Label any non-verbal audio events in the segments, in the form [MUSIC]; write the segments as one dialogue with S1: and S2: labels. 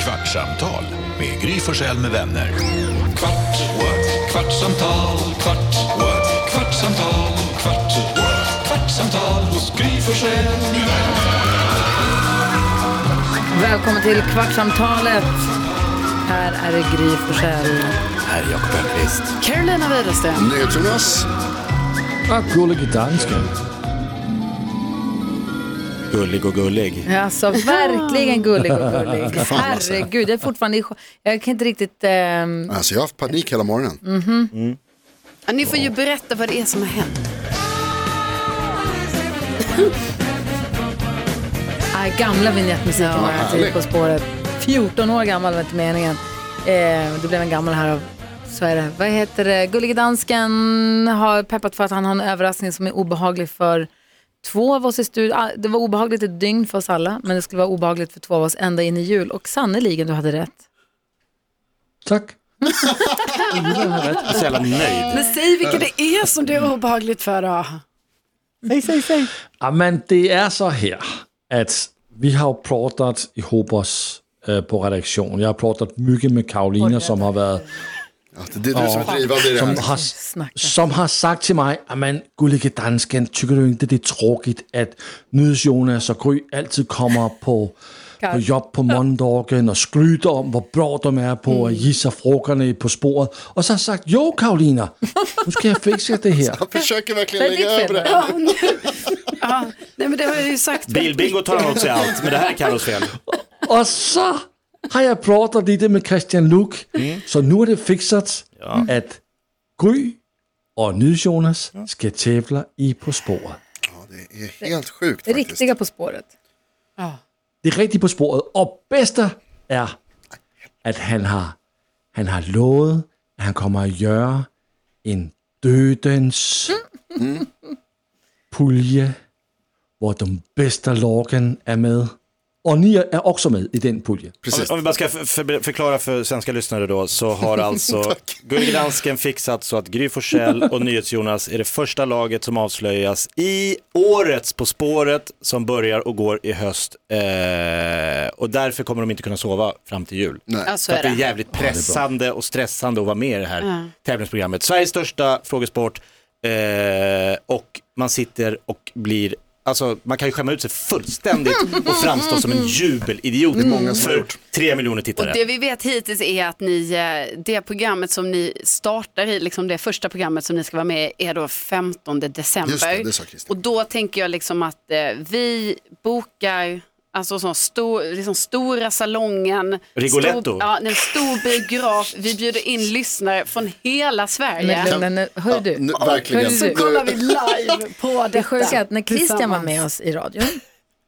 S1: Kvartsamtal med Gry Forssell med vänner.
S2: Kvart, what? kvartsamtal, kvart, what? kvartsamtal, kvart, what? kvartsamtal hos Gry Forssell med vänner.
S3: Välkommen till Kvartsamtalet. Här är det Gry Forssell.
S1: Här är Jakob Öqvist.
S3: Carolina Widersten.
S4: Och gullige dansken.
S5: Gullig och gullig.
S3: Alltså verkligen gullig och gullig. Herregud, jag är fortfarande i chock. Jag kan inte riktigt... ehm,
S6: Alltså jag har haft panik hela morgonen.
S3: Mm.
S7: Ja, ni får ju berätta vad det är som har hänt.
S3: äh, gamla vignettmusiken var här till På spåret. 14 år gammal var inte meningen. Eh, det blev en gammal här av... Så är det. Vad heter det? Gullige dansken har peppat för att han har en överraskning som är obehaglig för två av oss i studion. Ah, Det var obehagligt ett dygn för oss alla, men det skulle vara obehagligt för två av oss ända in i jul. Och sannerligen, du hade rätt.
S4: Tack.
S5: Så jävla nöjd.
S7: Men säg vilket det är som det är obehagligt för då.
S4: Ja, men det är så här att vi har pratat ihop oss eh, på redaktion. Jag har pratat mycket med Karolina som har varit
S6: Att det är du som är drivande i det
S4: som
S6: här.
S4: har, som har sagt till mig, men gullige dansken, tycker du inte det är tråkigt att NyhetsJonas och Gry alltid kommer på, på jobb på måndagen och skryter om hur bra de är på att gissa frågorna i På spåret. Och så har jag sagt, jo Karolina, nu ska jag fixa det här.
S6: Jag försöker verkligen
S3: Men ditt
S6: lägga över
S3: fel.
S6: det här.
S7: Ja, nej. ja, nej men det har jag ju sagt.
S5: Bilbingo tar han åt sig allt, men det här är Carros fel.
S4: Och så har jag pratat lite med Christian Luuk, så nu är det fixat att Gry och NyhetsJonas ska tävla i På spåret.
S6: Ja, det är helt sjukt
S3: Det
S6: faktiskt.
S3: riktiga På spåret.
S4: Det är rigtigt på sporet. Och bästa är att han har, han har lovet att han kommer att göra en dödens pulje där de bästa lagen är med. Och ni är också med i den puljen.
S5: Om,
S6: Precis.
S5: om vi bara ska för, för, förklara för svenska lyssnare då, så har alltså Gullig Dansken fixat så att Gry Forssell och NyhetsJonas är det första laget som avslöjas i årets På spåret som börjar och går i höst. Eh, och därför kommer de inte kunna sova fram till jul.
S7: Ja, så
S5: Så att
S7: är
S5: det är
S7: det.
S5: jävligt pressande och stressande att vara med i det här tävlingsprogrammet. Sveriges största frågesport eh, och man sitter och blir, alltså man kan ju skämma ut sig fullständigt och framstå som en jubelidiot för tre miljoner
S7: Och
S5: tittare.
S7: det vi vet hittills är att ni, eh, det programmet som ni startar i, liksom det första programmet som ni ska vara med i, är då 15 december.
S6: Just det, det sa Christer.
S7: och då tänker jag liksom att eh, vi bokar alltså sån stor, liksom stora salongen.
S5: Rigoletto.
S7: Stor, ja, en stor biograf. Vi bjuder in lyssnare från hela Sverige.
S3: Men, men, men hör
S6: Ja,
S3: du,
S6: nu, verkligen.
S3: Så
S6: Nu-
S3: kollar
S7: live på
S3: det sjuka är att när Christian var
S7: tillsammans.
S3: med oss i radion,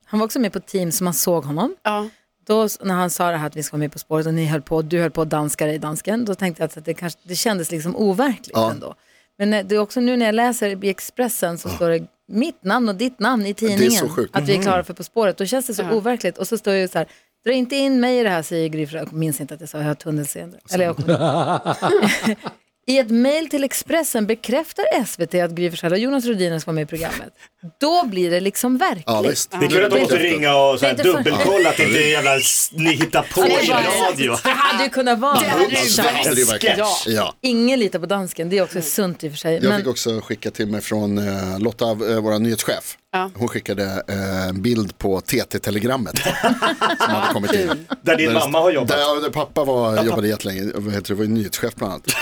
S3: han var också med på team så man såg honom.
S7: Ja.
S3: Då s- när han sa det här att vi ska vara med På spåret och ni höll på, du höll på att danska dig i dansken, då tänkte jag att det, kanske, det kändes liksom overkligt ändå. Men eh, det är också nu när jag läser i Expressen så står det mitt namn och ditt namn i tidningen.
S6: så sjukt.
S3: Att vi är klara för På spåret, då känns det så overkligt. Och så står det ju så här, dra inte in mig i det här säger Gry, Frö- jag minns inte att jag sa, jag har tunnelseende.
S6: Alltså.
S3: Eller jag kommer
S6: [LAUGHS]
S3: I ett mejl till Expressen bekräftar SVT att Gry Forssell och Jonas Rhodiner ska vara med i programmet. Då blir det liksom verkligt.
S6: Ja, visst.
S5: Det är kul att de måste ringa och så här,
S3: Det är inte för-
S5: dubbelkolla att det inte är jävla s- ni hittar på
S3: Det
S5: i
S3: var-
S5: radio.
S3: Det hade ju kunnat vara.
S7: hade
S6: Alltså, det hade det verkligen.
S5: Ja.
S6: Ja.
S3: Ingen litar på dansken, det är också sunt i och för sig.
S6: Jag
S3: Men
S6: fick också skicka till mig från eh, Lotta, eh, vår nyhetschef. Hon skickade eh, en bild på TT-telegrammet [LAUGHS] som hade kommit in.
S5: Där din mamma har jobbat.
S6: Där, ja, där pappa var, jobbade jättelänge, vad heter det, var ju nyhetschef bland annat.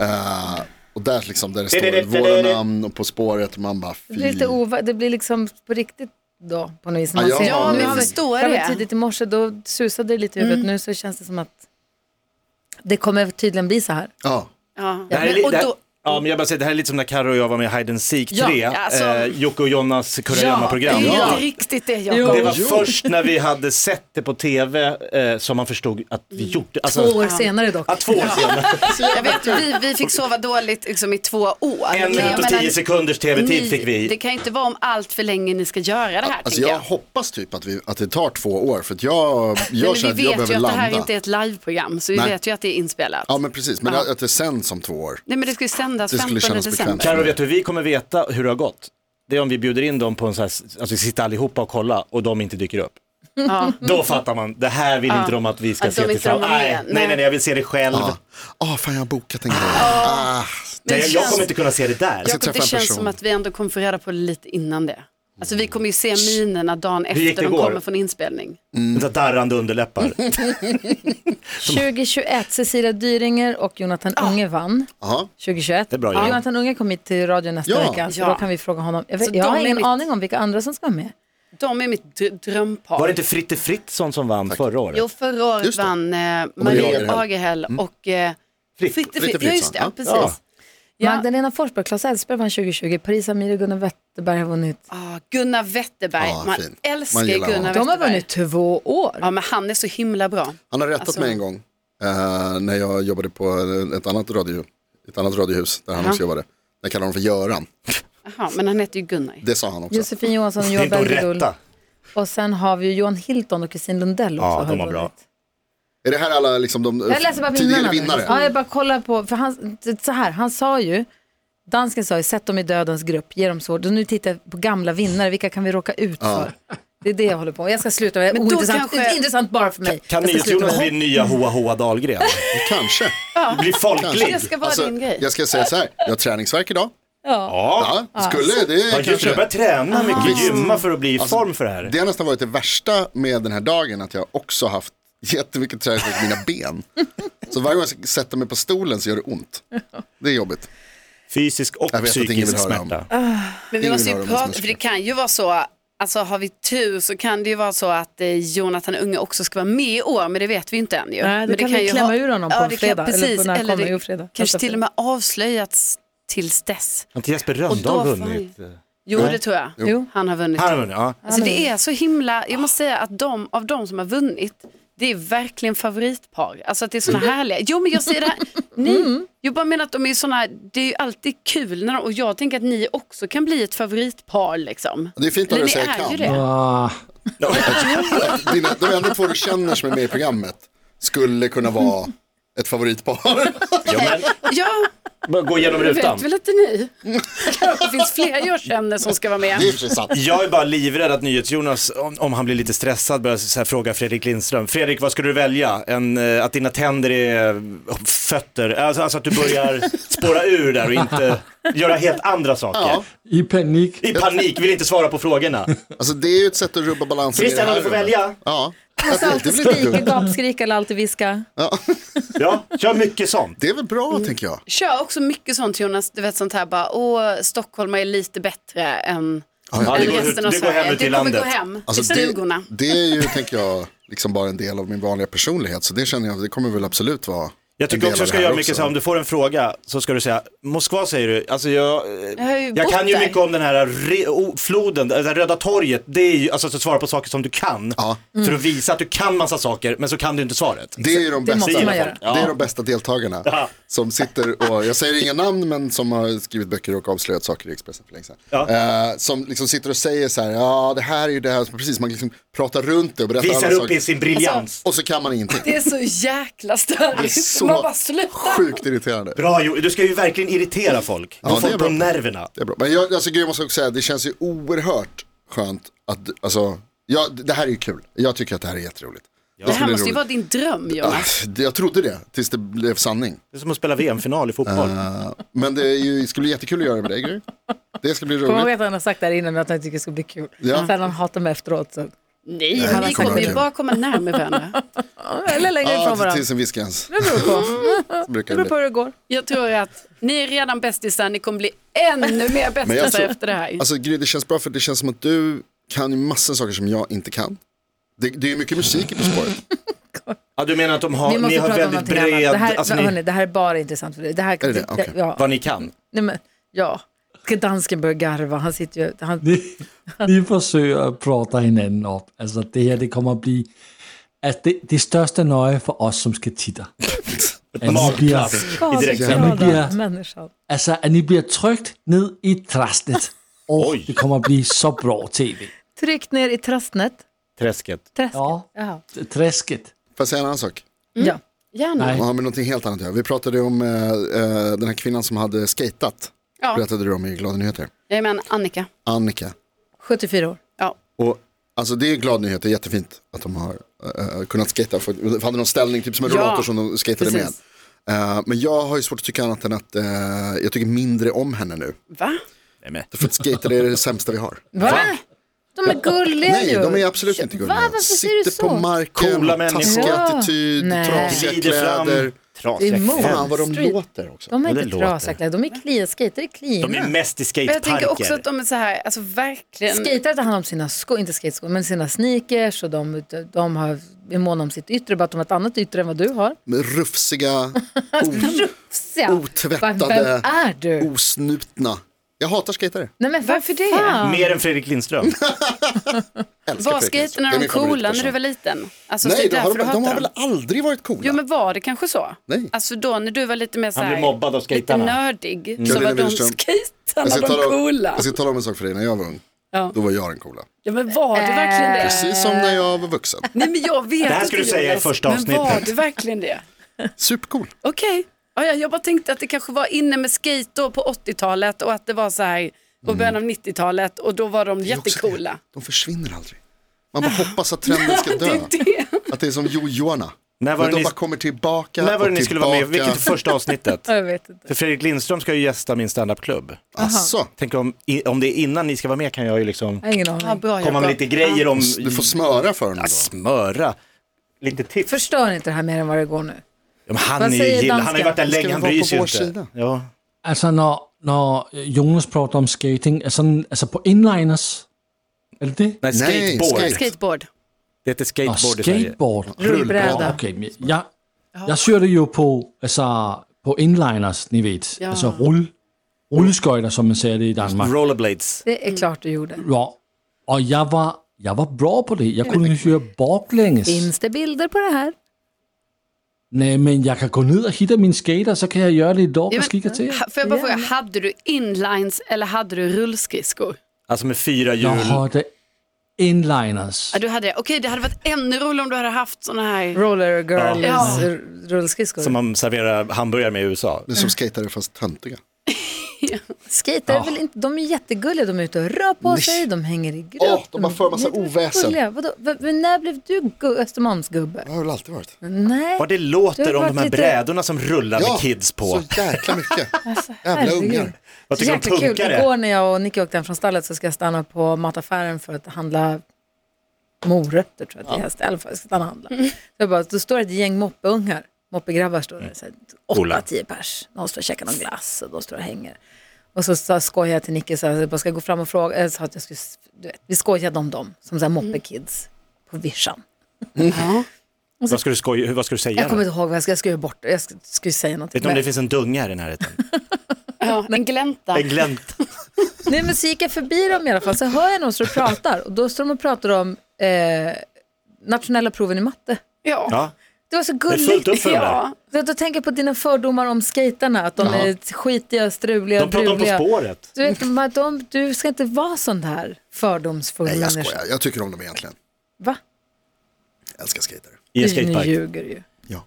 S6: Eh, och där, liksom, där det står våra namn och På spåret, man bara
S3: det blir,
S6: fy.
S3: lite ova- det blir liksom på riktigt då på något vis. när
S6: Ja,
S3: man
S6: jag
S3: ser-
S6: har-
S3: nu
S6: jag
S3: har vi-
S7: förstår
S3: jag var
S7: det.
S3: Tidigt i morse då susade det lite i huvudet, nu så känns det som att det kommer tydligen bli så här.
S6: Ja,
S7: Ja.
S5: Det här är
S7: Men-
S5: li-
S7: och
S5: det här-
S7: då-
S5: Ja, men jag bara säger, det här är lite som när Carro och jag var med i Hide and Seek 3,
S3: Ja,
S7: alltså-
S5: eh, Jocke och Jonas Kurragömma-program.
S7: Det är inte riktigt det Jakob.
S5: Det var först när vi hade sett det på tv eh, som man förstod att vi gjorde
S3: Två
S5: alltså,
S3: år senare dock.
S5: Ja, två år senare.
S7: Jag vet, vi, vi fick sova dåligt liksom, i två år.
S5: En
S7: Men jag
S5: minut och
S7: menar, Mm.
S5: tio sekunders tv-tid
S7: ni-
S5: fick vi.
S7: Det kan ju inte vara om allt för länge ni ska göra det här.
S6: alltså
S7: tänker
S6: jag
S7: jag.
S6: hoppas typ att, vi, att det tar två år för att jag,
S7: Nej,
S6: jag
S7: men
S6: känner att
S7: vi
S6: jag
S7: vet ju
S6: behöver
S7: att det här
S6: landa.
S7: inte är ett liveprogram, så vi
S6: Nej.
S7: vet ju att det är inspelat.
S6: Ja men precis, men
S7: Ja.
S6: att det sänds om två år.
S7: Nej men det ska ju sändas
S6: Det skulle
S7: 15
S6: kännas
S7: december.
S6: bekvämt.
S5: Carro, vet du hur vi kommer veta hur det har gått? Det är om vi bjuder in dem på en sån här, alltså vi sitter allihopa och kollar och de inte dyker upp. Då fattar man, det här vill inte de att vi ska
S7: Att de
S5: se
S7: inte
S5: tillsammans.
S7: de är
S5: Nej,
S7: med.
S5: nej, nej, jag vill se det själv.
S6: Ah, ah, fan jag har bokat en grej. Ah,
S5: Nej, jag, jag
S7: känns-
S5: kommer inte kunna se det där.
S6: ska
S7: Jakob,
S6: träffa
S7: det
S6: en
S7: känns
S6: person.
S7: som att vi ändå kommer få reda på det lite innan det. Alltså vi kommer ju se minerna dagen
S5: gick
S7: efter
S5: det
S7: de
S5: igår?
S7: kommer från inspelning.
S5: Mm. Darrande underläppar.
S7: [LAUGHS]
S3: 2021, Cecilia Dyringer och Jonathan Unge vann.
S6: aha.
S3: 2021.
S5: Det är bra jobbat.
S3: Jonathan Unge kom hit till radion nästa
S6: Ja.
S3: vecka, så
S7: Ja.
S3: då kan vi fråga honom. Jag,
S7: Så
S3: vet, jag
S7: de
S3: har
S7: är
S3: ingen
S7: mitt-
S3: aning om vilka andra som ska vara med.
S7: De är mitt dr- drömpar.
S5: Var det inte Fritte Fritzson som vann förra året?
S7: Jo, förra året
S6: Just det.
S7: vann eh,
S6: Maria
S7: Marie
S6: Agerhäll.
S7: Agerhäll
S6: Mm.
S7: och eh, Fritte Fritzson. Ja, just det, ja,
S6: ja.
S7: precis.
S5: Ja.
S7: Ja.
S3: Magdalena Forsberg, Claes Elfsberg vann 2020, Paris Amir och Gunnar Wetterberg har vunnit.
S7: Ah, Gunnar Wetterberg,
S6: Ja,
S7: man
S6: fin.
S7: älskar
S6: Ah, Man gillar
S7: Gunnar
S6: honom.
S3: De har
S7: Wetterberg.
S3: vunnit två år.
S7: Ja, men han är så himla bra.
S6: Han har rättat
S7: Alltså-
S6: mig en gång eh, när jag jobbade på ett annat, radio, ett annat radiohus där han också jobbade. Jag kallade honom för Göran.
S7: Jaha, men han heter ju Gunnar.
S6: Det sa han också.
S3: Josefin Johansson och
S5: Det är
S3: Johan
S5: inte att
S3: Bergedul.
S5: rätta.
S3: Och sen har vi ju Johan Hilton och Kristin Lundell också.
S5: Ja,
S3: har
S5: de var bra.
S3: vunnit.
S6: Är det här alla liksom, de
S3: Jag läser bara
S6: tidigare
S3: vinnarna. nu.
S6: vinnare?
S3: Ja, jag bara kollar på, för han, så här, han sa ju, dansken sa ju, sätt dem i dödens grupp, ge dem svårt. Och nu tittar jag på gamla vinnare, vilka kan vi råka ut för? Det är det jag håller på med. Jag ska sluta med det.
S7: Men då
S3: Ointressant,
S7: kanske-
S3: intressant bara för mig.
S5: Kan
S3: jag ska sluta
S5: NyhetsJonas
S3: med
S5: bli
S3: det.
S5: nya Hoa Hoa
S7: [LAUGHS]
S5: Dahlgren?
S6: Kanske. Alltså,
S5: Bli folklig?
S7: Det ska vara din grej.
S6: jag ska säga så här, jag har träningsvärk idag.
S5: Ja,
S6: Ja, skulle, det är
S5: ja just det. Jag
S6: kanske. Alltså,
S5: börjar träna mycket, gymma för att bli i form för det här.
S6: Det har nästan varit det värsta med den här dagen, att jag också haft jättemycket träningsvärk i mina ben.
S7: [LAUGHS]
S6: Så varje gång jag ska sätta mig på stolen så gör det ont. Det är jobbigt.
S5: Fysisk och
S6: Jag vet att ingen vill
S5: psykisk
S6: höra om.
S5: smärta.
S7: Men vi
S6: Ingen
S7: måste
S6: har
S7: ju
S6: dem som
S7: prata,
S6: ska-
S7: för det kan ju vara så, alltså har vi tur så kan det ju vara så att eh, Jonathan Unge också ska vara med i år, men det vet vi ju inte än ju.
S3: det
S7: men
S3: kan vi klämma ur honom på
S7: ja, det
S3: fredag,
S7: Kan,
S3: eller på
S7: precis,
S3: när han
S7: eller
S3: kommer,
S7: det
S3: jo, fredag. Nästa
S7: kanske till och med avslöjats tills dess.
S5: Har inte Jesper
S7: Och
S5: Rönndahl
S7: då
S5: vunnit?
S7: Jo, det tror jag.
S3: Jo.
S7: Han har vunnit.
S5: Han har vunnit, ja.
S7: Alltså det är så himla, jag måste säga att de, av de som har vunnit, det är verkligen favoritpar. Alltså att det är såna härliga, jo men jag säger det här, ni, jag bara menar att de är såna, det är ju alltid kul när de, och jag tänker att ni också kan bli ett favoritpar liksom.
S6: Det är fint när
S7: Eller
S6: du
S7: ni
S6: säger
S7: är ju
S6: kan.
S7: det.
S4: Ah,
S6: Dina, de enda två du känner som är med i programmet skulle kunna vara ett favoritpar.
S7: Ja,
S5: Bara gå igenom
S7: det
S5: rutan.
S7: vet väl inte ni. Kanske finns fler jag känner som ska vara med.
S6: Det är i och för sig sant.
S5: Jag är bara livrädd att NyhetsJonas, om, om han blir lite stressad, börjar så här fråga Fredrik Lindström. Fredrik, vad skulle du välja? En, eh, att dina tänder är eh, fötter? Alltså, alltså att du börjar spåra ur där och inte göra helt andra saker.
S6: Ja.
S4: I panik.
S5: I panik, vill inte svara på frågorna.
S6: Alltså det är ju ett sätt att rubba balansen. i
S5: Christian,
S6: det här
S5: om du får
S6: rummet.
S5: välja.
S6: Ja. Alltså,
S3: Måste
S6: det,
S3: alltid
S6: blir inte
S3: skrika,
S6: dumt.
S3: gapskrika eller alltid viska.
S5: Ja, kör mycket sånt.
S6: det är väl bra
S5: Mm.
S6: tänker jag.
S7: Kör också mycket sånt Jonas, du vet sånt här bara, åh, Stockholm är lite bättre än
S5: Ja, det,
S7: än
S5: går,
S7: resten av
S5: det går hem
S7: Sverige.
S5: ut i
S7: Det kommer gå
S5: landet.
S7: hem i
S6: Alltså, det,
S7: stugorna.
S6: det är ju tänker jag liksom bara en del av min vanliga personlighet. Så det känner jag, det kommer väl absolut vara
S5: Jag
S6: en
S5: tycker
S6: del
S5: också
S6: av
S5: du ska
S6: det här
S5: göra mycket så här, om du får en fråga så ska du säga, Moskva säger du, alltså jag, eh,
S7: Jag har ju
S5: jag
S7: bott
S5: kan ju
S7: där.
S5: mycket om den här re, o, floden, det här Röda torget, det är ju, alltså att svara på saker som du kan.
S6: Ja.
S5: För att visa att du kan massa saker, men så kan du inte svaret.
S6: Det är ju de
S3: Det
S6: bästa,
S3: måste man göra.
S6: det är de bästa deltagarna som sitter och, jag säger inga namn men som har skrivit böcker och avslöjat saker i Expressen för länge sedan. Eh, som liksom sitter och säger så här, ja det här är ju det här, som precis man liksom pratar runt det och berättar
S5: Visar
S6: alla
S5: upp i
S6: saker.
S5: sin briljans.
S3: Alltså-
S6: Och så kan man
S7: [LAUGHS]
S6: ingenting.
S7: Det är så jäkla störigt.
S6: Det är så
S7: Man bara slutar.
S6: sjukt irriterande.
S5: Bra Jo- du ska ju verkligen irritera folk. Gå
S6: Ja, det
S5: folk
S6: är
S5: på
S6: bra.
S5: nerverna.
S6: Det är bra. Men jag, alltså, gud, jag måste också säga, det känns ju oerhört skönt att, alltså, ja, det här är ju kul. Jag tycker att det här är jätteroligt.
S7: Det här
S6: skulle
S7: måste
S6: bli
S7: ju vara din dröm Jonas.
S6: roligt. Ah, Jag trodde det, tills det blev sanning.
S5: Det är som att spela VM-final i fotboll.
S6: Eh, Men det är ju, det skulle bli jättekul att göra med dig, Gry. Det ska bli
S3: Kommer ihåg
S6: roligt.
S3: att han har sagt det här innan, men att han tycker det ska bli kul.
S6: Ja.
S3: Sen han hatar mig efteråt. Så.
S7: Nej,
S6: det här kommer
S7: vi kommer
S6: vara
S7: ju
S6: kul.
S7: bara komma närmare varandra.
S3: Eller längre ifrån
S6: Ja,
S3: varandra.
S6: Ah, tills en viss gräns.
S3: Det beror på.
S6: Brukar
S3: Det beror
S6: det
S3: på
S6: bli.
S3: hur det går.
S7: [LAUGHS] Jag tror att ni är redan bästisar, ni kommer bli ännu mer
S6: Men jag
S7: bästisar
S6: tror-
S7: efter det här.
S6: Alltså, Gry, det känns bra för det känns som att du kan ju massor saker som jag inte kan. Det, det är ju mycket musik i På spåret.
S5: Ja, du menar att de har,
S3: Vi
S5: ni
S3: måste
S5: har
S3: prata om
S5: väldigt
S3: någonting
S5: bred,
S3: annat. Det här,
S5: alltså,
S3: hörni,
S5: ni,
S3: det här är bara intressant för dig. Det här,
S6: Är det det? Okej.
S3: ja,
S5: vad ni kan.
S3: nej men, ja. Ska dansken börja garva? Han sitter ju... Han,
S4: Ni, ni forsøger at prate hinanden op. Altså det her, det kommer at blive altså, det, det største nøje for os, som skal titter. At ni bliver,
S5: Magklass i direktsändning.
S4: Men det är-
S3: människan.
S4: altså, at ni bliver trygt ned i træsnet. Og
S5: Oj.
S4: det kommer at blive så bra tv.
S3: Tryck ner i trastnet.
S5: Träsket.
S3: Träsket.
S4: Ja,
S3: Ja.
S4: træsket.
S6: Får jag säga en annan sak?
S3: ja.
S7: Gärna.
S6: Ja, men någonting helt annat. att göra. Vi pratade om eh, eh, den här kvinnan som hade skatat.
S7: Ja.
S6: Berättade du om i Glada Nyheter.
S7: Jag är med Annika.
S6: Annika.
S3: 74 år.
S7: Ja.
S6: Och Alltså det är en glad nyhet, det är jättefint att de har eh, kunnat skata. För, de hade någon ställning, typ som en
S7: Ja,
S6: rollator som de skatade med.
S7: precis.
S6: Eh, men jag har ju svårt att tycka annat än att eh, jag tycker mindre om henne nu.
S7: Va?
S5: Nej, men.
S6: För att skater är det sämsta vi har.
S3: Va? De är gulliga
S6: Nej,
S3: ju.
S6: de är absolut inte gulliga.
S3: Va? Varför säger du
S6: Sitter på
S3: så?
S6: marken,
S5: Coola människor.
S6: taskig
S3: Ja.
S6: attityd,
S3: Nej.
S6: trasiga
S5: Glider fram.
S6: kläder.
S5: Trasiga
S3: Emot.
S5: kläder.
S6: Fan vad de
S3: Street.
S6: låter också.
S3: De är
S5: Men det
S3: inte
S5: låter.
S3: trasiga, de är klia. Skater är klina.
S5: De är mest i
S7: Men jag tänker
S5: skateparker.
S7: också att de är så här, alltså verkligen.
S3: Skatare tar hand om sina skor, inte skateskor, men sina sneakers och de, de har, är måna om sitt yttre, bara att de har ett annat yttre än vad du har.
S6: Med Rufsiga,
S3: Rufsiga.
S6: Otvättade.
S3: Vem är du?
S6: osnutna. Jag hatar skatare.
S3: Nej men
S7: Varför
S3: vad
S7: det?
S3: fan?
S5: Mer än
S6: [LAUGHS]
S5: Fredrik Lindström.
S6: Älskar
S7: Var
S6: Fredrik Lindström.
S7: skaterna
S6: Det är
S7: de
S6: min
S7: coola
S6: favoritperson.
S7: när du var liten? Alltså,
S6: Nej,
S7: det
S6: de
S7: är
S6: har,
S7: därför
S6: de,
S7: du hatar
S6: har
S7: dem.
S6: väl aldrig varit coola?
S7: Jo men var det kanske så?
S6: Nej.
S7: Alltså då när du var lite mer så
S5: Han
S7: här,
S5: blev mobbad av
S7: lite
S5: skejtarna.
S7: nördig, så
S6: Karolina
S7: var de
S6: Widerström. Alltså,
S7: skejtarna
S6: jag, ska
S7: de
S6: tala om,
S7: coola.
S6: jag ska tala om en sak för dig, när jag var ung,
S7: Ja. Eh.
S6: då var jag den coola.
S7: Ja men var du verkligen det?
S6: Precis som när jag var vuxen.
S7: Nej men jag vet
S5: Det här ska
S7: inte,
S5: du säga i
S7: Jonas.
S5: första avsnittet.
S7: Men var du verkligen det?
S6: Supercool.
S7: Okej. Ja, ja, jag bara tänkte att det kanske var inne med skate då på 80-talet och att det var så här och början av
S5: Mm.
S7: 90-talet och då var de
S6: Det är också
S7: jättecoola.
S6: det. De försvinner aldrig. Man bara hoppas att trenden ska
S7: [LAUGHS] Det
S6: dö.
S7: är det.
S6: Att det är som jojoarna.
S5: När var
S6: Men
S5: det
S6: de
S5: ni-
S6: bara kommer tillbaka
S5: När var det
S6: och
S5: ni skulle vara med?
S6: tillbaka.
S5: Vilket första
S7: [LAUGHS]
S5: avsnittet?
S3: Jag vet inte.
S5: För Fredrik Lindström ska ju gästa min standupklubb.
S6: Asså,
S5: Tänk om, i- om det är innan ni ska vara med kan jag ju liksom
S3: Jag har ingen aning.
S7: Ja, bra
S5: komma med
S7: jobbat.
S5: lite grejer om
S6: du får smöra för honom
S5: Ja,
S6: då.
S5: smöra. Lite tips.
S3: Förstör inte det här mer än vad det går nu.
S5: Ja, men han,
S3: Vad
S5: är ju
S3: säger
S5: gill- han har
S3: dansken?
S5: ju varit där
S6: Ska
S5: länge,
S6: vi
S5: han
S6: vara
S5: bryr
S6: på
S5: sig ju
S6: vår
S5: inte.
S6: sida?
S5: Ja.
S4: Altså, når, når Jonas prater om skating, er sådan, altså på inliners, er det det?
S5: Nej,
S6: Nej,
S5: skateboard.
S6: skate.
S7: Skateboard.
S5: Det heter
S4: Nå,
S5: skateboard, i Sverige.
S4: skateboard.
S3: Rullbräda.
S4: Okay, men jeg, jeg søger det jo på, altså, på inliners, ni ved.
S7: Ja.
S4: Altså rulle, rulleskøjter, som man siger det i Danmark.
S5: Rollerblades.
S3: Det är klart du gjorde.
S4: Ja, og jeg var, jeg var bra på det. Jeg kunne høre baklænges.
S3: Finns det bilder på det här?
S4: Nej, men jeg kan gå ned og hitte min skater, så kan jeg gøre lidt dog
S7: Ja,
S4: og
S7: men-
S4: skikke til jer.
S7: Ha- Får jag bara fråga, hade du inlines eller hade du rullskridskor?
S5: Alltså med fyra hjul.
S4: Jeg hørte inliners.
S7: Ja, du hade det. Okej, det hade varit ännu roligare om du hade haft såna här.
S3: Roller girls
S7: Ja.
S3: r- rullskridskor.
S5: Som man serverar hamburgare med i USA.
S6: Det är som skatare fast töntiga.
S3: Skater är väl inte, de är jättegulliga, de är ute och rör på sig, de hänger i grupp.
S6: Åh, de bara för
S3: är
S6: massa oväsen.
S3: jättegulliga. Vadå? V- Men när blev du gu- Östermalmsgubbe?
S6: Det har väl alltid varit.
S3: Nej.
S5: Vad det
S3: Det
S5: låter
S3: har
S5: om de
S3: varit
S5: här
S3: lite-
S5: brädorna som rullar med kids på.
S6: så jäkla mycket.
S7: [LAUGHS] Alltså,
S6: Jävla
S3: herregud.
S6: ungar.
S5: Vad tycker du om
S3: Jäkla kul.
S5: punkare?
S3: Igår när jag och Nicky åkte hem från stallet så ska jag stanna på mataffären för att handla morötter tror jag att det är häst. I alla fall, jag ska stanna och handla. Så jag bara, då står det ett gäng moppeungar, moppegrabbar står det, så här, åtta,
S5: Coola.
S3: tio pers. De står och käkar någon glass och de står och hänger. Och så, så skojar jag till Nicky så här, så jag bara ska gå fram och fråga, jag sa att jag skulle, du vet, vi skojade om dem som så här moppekids på vischan.
S5: Vad ska du, skoja, vad ska du säga?
S3: Jag
S5: då?
S3: kommer
S5: Vet
S3: inte ihåg vad jag ska, jag ska ju bort, jag ska, ska ju säga någonting.
S5: du om
S3: Men-
S5: det finns en dunga här i närheten?
S7: Ja, en glänta.
S5: En glänt.
S3: Nej men så gick jag förbi dem i alla fall, så hör jag någon som pratar och då står de och pratar om eh, nationella proven i matte.
S7: Ja.
S5: Ja.
S3: Det var så
S5: Det är fullt
S3: gulligt.
S5: upp för dem där.
S7: ja.
S3: Då, då tänker jag på dina fördomar om skaterna, att de är skitiga, struliga,
S5: De pratar om På
S3: bruliga.
S5: spåret.
S3: Du, vet, de, de, du ska inte vara sån där fördomsfull
S6: Nej, jag
S3: människa.
S6: skojar. Jag tycker om dem egentligen.
S3: Va?
S6: Jag älskar skatare.
S5: I en
S3: Du
S5: skatepark.
S3: ljuger ju.
S6: Ja.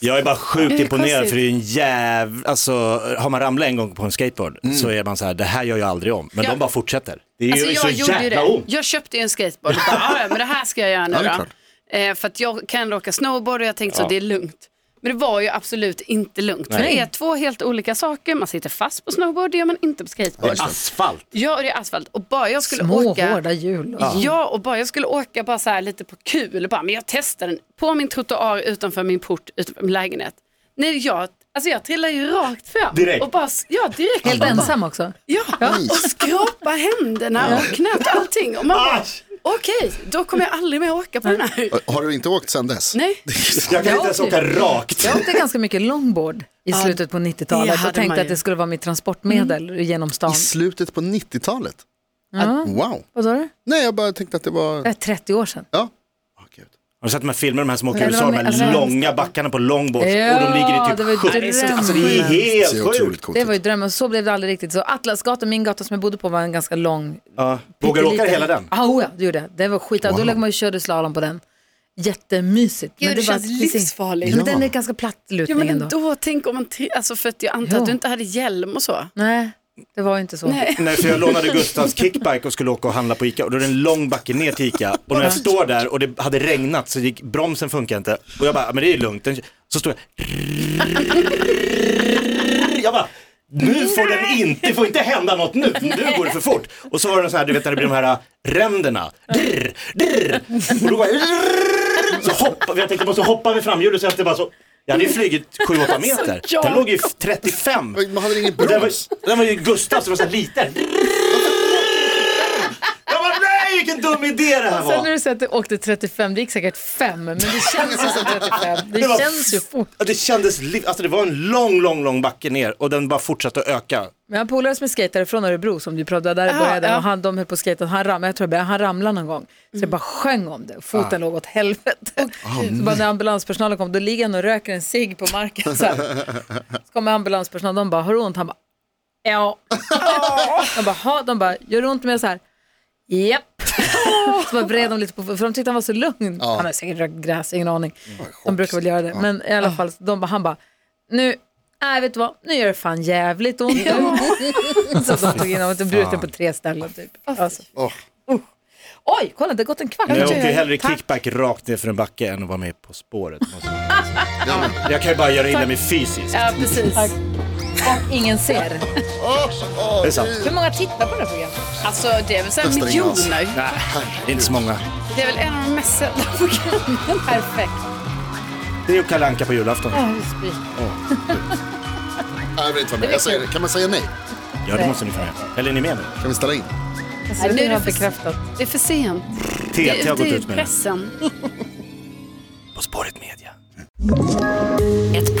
S5: Jag är bara sjukt
S7: Det är
S5: imponerad
S7: konstigt.
S5: för det är en jäv... Alltså, har man ramlat en gång på en skateboard så är man så här, det här gör jag aldrig om. Men
S7: Ja.
S5: de bara fortsätter. Mm. Det gör
S7: Alltså,
S5: ju
S7: jag
S5: så
S7: gjorde ju
S5: jävla
S7: det.
S5: ont.
S7: Jag köpte ju en skateboard och bara, "Ja, ja, men det här ska
S5: [LAUGHS]
S7: jag göra nu
S6: Ja, det är
S7: då.
S6: klart.
S7: Eh, för att jag kan ändå åka snowboard och jag tänkte så, det är lugnt. Men det var ju absolut inte lugnt. För det är två helt olika saker, man sitter fast på snowboard, det gör man inte på skateboard.
S5: Asfalt.
S7: Ja, och det är asfalt. Och bara jag skulle
S3: Små
S7: åka...
S3: hårda hjul.
S7: Ja. och bara jag skulle åka bara så här lite på kul, bara, men jag testar den på min trottoar utanför min port, utanför min lägenhet. Nej, jag, alltså jag trillar ju rakt fram.
S5: Direkt.
S7: Och bara, ja, direkt.
S3: Helt
S7: Och bara-
S3: ensam också.
S7: Ja, och skrapa händerna och knät allting. Och man bara, okej, då kommer jag aldrig mer åka på den här.
S6: Har du inte åkt sen dess?
S7: Nej,
S5: Jag kan inte ens åka rakt.
S3: Jag åkte ganska mycket longboard i slutet på
S7: det
S3: 90-talet och
S7: hade man
S3: tänkte
S7: ju. Mm.
S3: att det skulle vara mitt transportmedel genom stan.
S6: I slutet på 90-talet?
S3: Ja.
S6: Wow.
S3: Vad sa du?
S6: Nej, jag bara tänkte att det
S3: Det
S6: var...
S3: är 30 år sedan.
S6: Ja. Åh, gud.
S5: Har du sett de här filmerna, de här som åker i
S3: Nej,
S5: USA, de
S3: de är- alltså,
S5: här långa backarna på longboards och de ligger
S3: Ja, det var
S5: i typ 70.
S3: drömmen.
S5: Alltså det är
S6: Det ser
S5: helt
S6: otroligt
S5: sjukt.
S6: coolt
S3: Det var
S6: ut.
S3: ju drömmen, så blev det aldrig riktigt. Så Atlasgatan, min gata som jag bodde på, var en ganska lång.
S5: Ja. Vågar du åka hela den?
S3: Ah, oh ja, det gjorde jag. Det var skit. Då låg man ju och körde slalom på den. Jättemysigt.
S7: Gud, det,
S3: var
S7: känns
S3: precis-
S7: livsfarligt.
S3: Ja, men den är ganska platt
S7: Ja,
S3: lutning
S7: men
S3: ändå.
S7: då tänk om man, t- alltså för att jag antar
S3: Ja.
S7: att du inte hade hjälm och så.
S3: Nej. Det var ju inte så.
S7: Nej.
S5: Nej, för jag lånade Gustavs kickbike och skulle åka och handla på Ica och då är det en lång backe ner till Ica och när jag står där och det hade regnat så gick bromsen funkar inte och jag bara, men det är lugnt. Den- Så står jag, jag bara, nu får den inte, det får inte hända något nu, nu går det för fort. Och så var det så här, du vet när det blir de här äh, ränderna, drr, drr. och då bara, så hoppade, jag tänkte jag måste hoppa med framhjulet så att det bara så, jag hade ju flugit 7-8 meter, den låg ju 35.
S6: Men Man hade ingen
S5: Och den
S6: broms.
S5: var, den var ju Gustav som var så här liten. Jag bara nej vilken dum idé det här
S3: Sen när
S5: var.
S3: du säger att du åkte 35, det gick säkert 5, men det känns ju som 35. Det,
S5: Det var-
S3: känns ju fort.
S5: Ja, Det kändes, liv- alltså det var en lång, lång, lång backe ner och den bara fortsatte att öka.
S3: Men jag har polare som är skatare från Örebro som du pratade där i
S7: Ah,
S3: början
S7: ja.
S3: och han, de höll på att skata och han ramlade, jag tror jag började, han ramlade någon gång. Så jag bara sjöng om det och foten låg åt helvete. så bara när ambulanspersonalen kom, då ligger han och röker en cigg på marken så här. Så kommer ambulanspersonalen, de bara, har du ont? Han bara, ja. de bara, ha? De bara, gör du ont med så här? Japp. Så bara vred de lite på för de tyckte han var så lugn. Han har säkert rökt gräs, ingen aning. De brukar väl göra det. Men i alla fall, de bara, han bara, nu, nej vet du vad, nu gör det fan jävligt ont. [LAUGHS] så de tog in honom, de bruten på tre ställen typ. Alltså.
S6: Åh.
S3: Oj, kolla det har gått en kvart.
S5: Jag åkte ju hellre
S3: Tack.
S5: kickback rakt ner för en backe än att vara med På spåret. måste jag säga. Jag kan ju bara göra illa mig fysiskt.
S7: Ja, precis.
S3: Och ingen ser.
S5: Det är sant.
S3: Hur många tittar på det här programmet?
S7: Alltså, det är väl så här
S6: Testar ingen alls.
S7: miljoner.
S5: Nej, det är inte så många.
S7: Det är väl en av de mest sedda programmen.
S3: Perfekt.
S5: Det är ju Kalle Anka på julafton.
S6: Nej, jag vill inte vara med. Jag säger, det. kan man säga nej?
S5: Ja, det måste ni få med. Eller är ni med nu?
S6: Kan vi ställa in?
S3: Alltså,
S7: nu
S3: det
S7: är det
S3: har
S7: för-
S3: bekräftat.
S7: Det är för sent.
S5: TT har
S7: det
S5: gått
S7: är
S5: ut med det.
S7: pressen.
S5: På spåret media.
S8: Ett